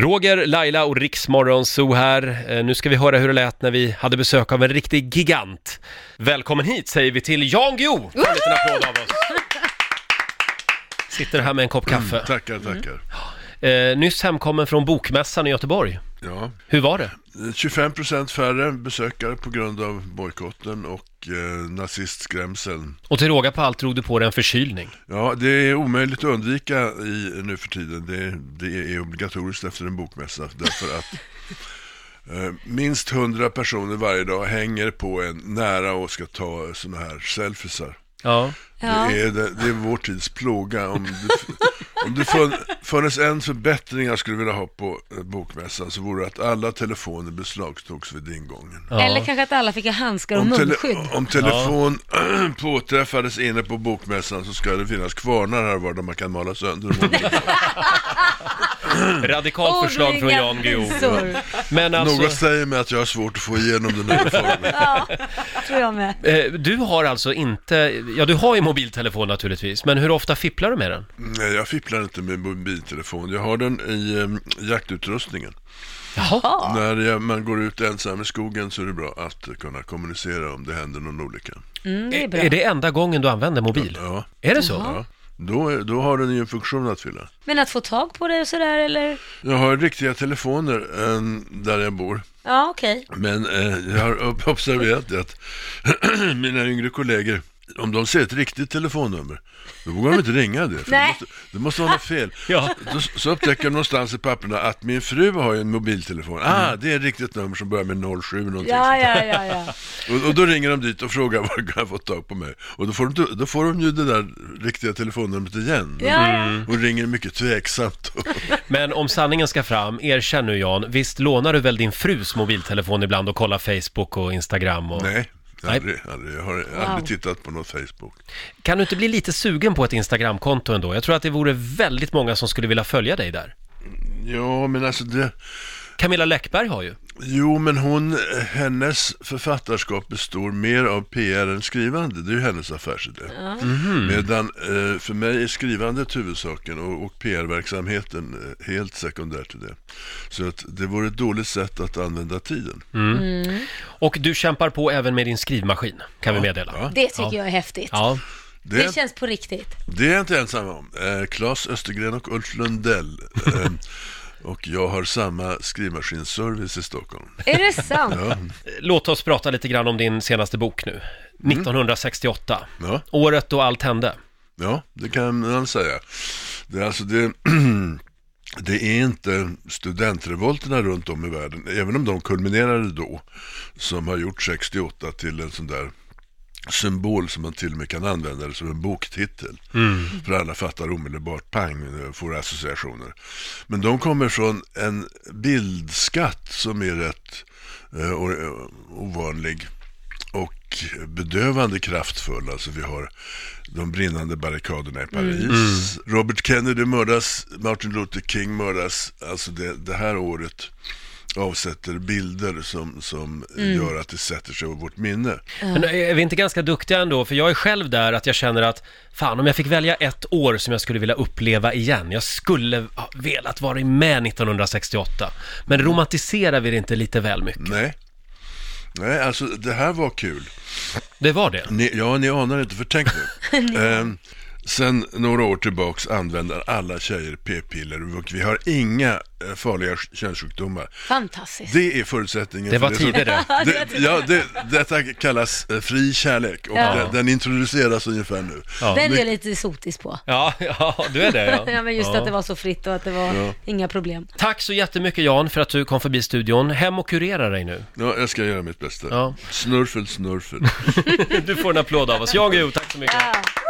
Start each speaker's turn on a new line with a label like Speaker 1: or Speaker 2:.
Speaker 1: Roger, Laila och Riksmorgon Zoo här. Eh, Nu ska vi höra hur det lät när vi hade besök av en riktig gigant. Välkommen hit säger vi till Jan Guillou! Få en liten applåd av oss. Sitter här med en kopp kaffe.
Speaker 2: Mm. Tackar, tackar.
Speaker 1: Eh, nyss hemkommen från Bokmässan i Göteborg.
Speaker 2: Ja.
Speaker 1: Hur var det?
Speaker 2: 25% färre besökare på grund av bojkotten och eh, nazistskrämseln.
Speaker 1: Och till råga på allt drog du på dig en förkylning.
Speaker 2: Ja, det är omöjligt att undvika i, nu för tiden. Det, det är obligatoriskt efter en bokmässa. Därför att eh, minst 100 personer varje dag hänger på en nära och ska ta sådana här selfiesar.
Speaker 1: Ja.
Speaker 3: Ja.
Speaker 2: Det, är, det, det är vår tids plåga. Om det, om det fun, funnits en förbättring jag skulle vilja ha på eh, bokmässan så vore det att alla telefoner beslagtogs vid ingången.
Speaker 1: ja.
Speaker 3: Eller kanske att alla fick ha handskar och
Speaker 2: Om, tele,
Speaker 3: munskydd.
Speaker 2: om telefon påträffades inne på bokmässan så ska det finnas kvarnar här var där man kan mala sönder dem.
Speaker 1: Radikalt
Speaker 3: Och
Speaker 1: förslag från
Speaker 3: bringa
Speaker 1: Jan Guillou.
Speaker 3: visor,
Speaker 1: Men
Speaker 2: Något
Speaker 1: alltså,
Speaker 2: säger mig att jag har svårt att få igenom den här reformen.
Speaker 3: tror jag med.
Speaker 1: eh, du har alltså inte, ja du har ju mobiltelefon naturligtvis, men hur ofta fipplar du med den?
Speaker 2: Nej, jag fipplar inte med mobiltelefon. Jag har den i eh, jaktutrustningen.
Speaker 1: Jaha.
Speaker 2: När jag, man går ut ensam i skogen så är det bra att kunna kommunicera om det händer någon olycka.
Speaker 3: Mm, det är bra.
Speaker 1: Är det enda gången du använder mobil?
Speaker 2: Ja.
Speaker 1: Är det så?
Speaker 3: Jaha.
Speaker 2: Då, är- då har den ju en funktion att fylla.
Speaker 3: Men att få tag på det och sådär eller?
Speaker 2: Jag har riktiga telefoner eh, där jag bor.
Speaker 3: Ja, okej.
Speaker 2: Men eh, jag har upp- observerat det att mina yngre kollegor, om de ser ett riktigt telefonnummer, då vågar de inte ringa det. För det,
Speaker 3: Nej.
Speaker 2: måste, det måste vara något fel.
Speaker 1: Ja.
Speaker 2: Då, så upptäcker de någonstans i papperna att min fru har ju en mobiltelefon. Ah, det är ett riktigt nummer som börjar med 07 någonting.
Speaker 3: Mm. Ja, ja, ja, ja.
Speaker 2: Och, och då ringer de dit och frågar var kan jag få tag på mig? Och då får de, då får de ju det där riktiga telefonnumret igen.
Speaker 3: ja, ja.
Speaker 1: Mm.
Speaker 2: Och ringer mycket tveksamt.
Speaker 1: Men om sanningen ska fram, erkänn nu Jan, visst lånar du väl din frus mobiltelefon ibland och kollar Facebook och Instagram? Och...
Speaker 2: Nej,
Speaker 1: Nej.
Speaker 2: aldrig, aldrig. Jag har aldrig tittat på något Facebook.
Speaker 1: Kan du inte bli lite sugen på ett Instagramkonto ändå? Jag tror att det vore väldigt många som skulle vilja följa dig där.
Speaker 2: Ja, men alltså det...
Speaker 1: Camilla Läckberg har ju.
Speaker 2: Jo, men hon, hennes författarskap består mer av PR än skrivande. Det är ju hennes affärsidé. Medan eh, för mig är skrivandet huvudsaken och, och PR-verksamheten eh, helt sekundär till det. Så att det vore ett dåligt sätt att använda tiden.
Speaker 1: Och du kämpar på även med din skrivmaskin, kan vi meddela.
Speaker 2: ja.
Speaker 3: Det tycker jag är häftigt.
Speaker 1: Ja,
Speaker 2: Det,
Speaker 3: Det känns på riktigt.
Speaker 2: Det är jag inte ensam om. Eh, Claes Östergren och Ulf Lundell. Eh, och jag har samma skrivmaskinsservice i Stockholm.
Speaker 3: Är det sant?
Speaker 1: låt oss prata lite grann om din senaste bok nu.
Speaker 2: Mm.
Speaker 1: 1968,
Speaker 2: Ja,
Speaker 1: året då allt hände.
Speaker 2: ja det kan man säga. Det är alltså det... Det är inte studentrevolterna runt om i världen, även om de kulminerade då, som har gjort 68 till en sån där symbol som man till och med kan använda det som en boktitel. För alla fattar omedelbart, pang, eh, får associationer. Men de kommer från en bildskatt som är rätt eh, o- ovanlig och bedövande kraftfull. Alltså vi har de brinnande barrikaderna i Paris. Robert Kennedy mördas, Martin Luther King mördas. Alltså det, det här året avsätter bilder som, som gör att det sätter sig i vårt minne.
Speaker 1: Men är vi inte ganska duktiga ändå? För jag är själv där att jag känner att fan, om jag fick välja ett år som jag skulle vilja uppleva igen, jag skulle ha velat vara med 1968. Men romantiserar vi det inte lite väl mycket?
Speaker 2: Nej. Nej, alltså det här var kul.
Speaker 1: Det var det.
Speaker 2: Ni, ja, ni anar inte, för tänk nu. Ehm, sen några år tillbaks använder alla tjejer p-piller och vi har inga eh, farliga s- könssjukdomar.
Speaker 3: Fantastiskt.
Speaker 2: Det är förutsättningen.
Speaker 1: Det var
Speaker 2: som-
Speaker 1: tider det.
Speaker 2: Det, ja, det, detta kallas eh, fri kärlek och
Speaker 3: Ja.
Speaker 2: den, den introduceras ungefär nu.
Speaker 1: Ja.
Speaker 3: Den är jag lite sotis på.
Speaker 1: Ja, ja, du är det ja.
Speaker 3: Ja, men just
Speaker 1: ja.
Speaker 3: att det var så fritt och att det var inga problem.
Speaker 1: Tack så jättemycket Jan för att du kom förbi studion. Hem och kurera dig nu.
Speaker 2: Ja, jag ska göra mitt bästa.
Speaker 1: Ja.
Speaker 2: Snurfel, snurfel.
Speaker 1: Du får en applåd av oss. Jan Guillou, tack så mycket.
Speaker 3: Ja.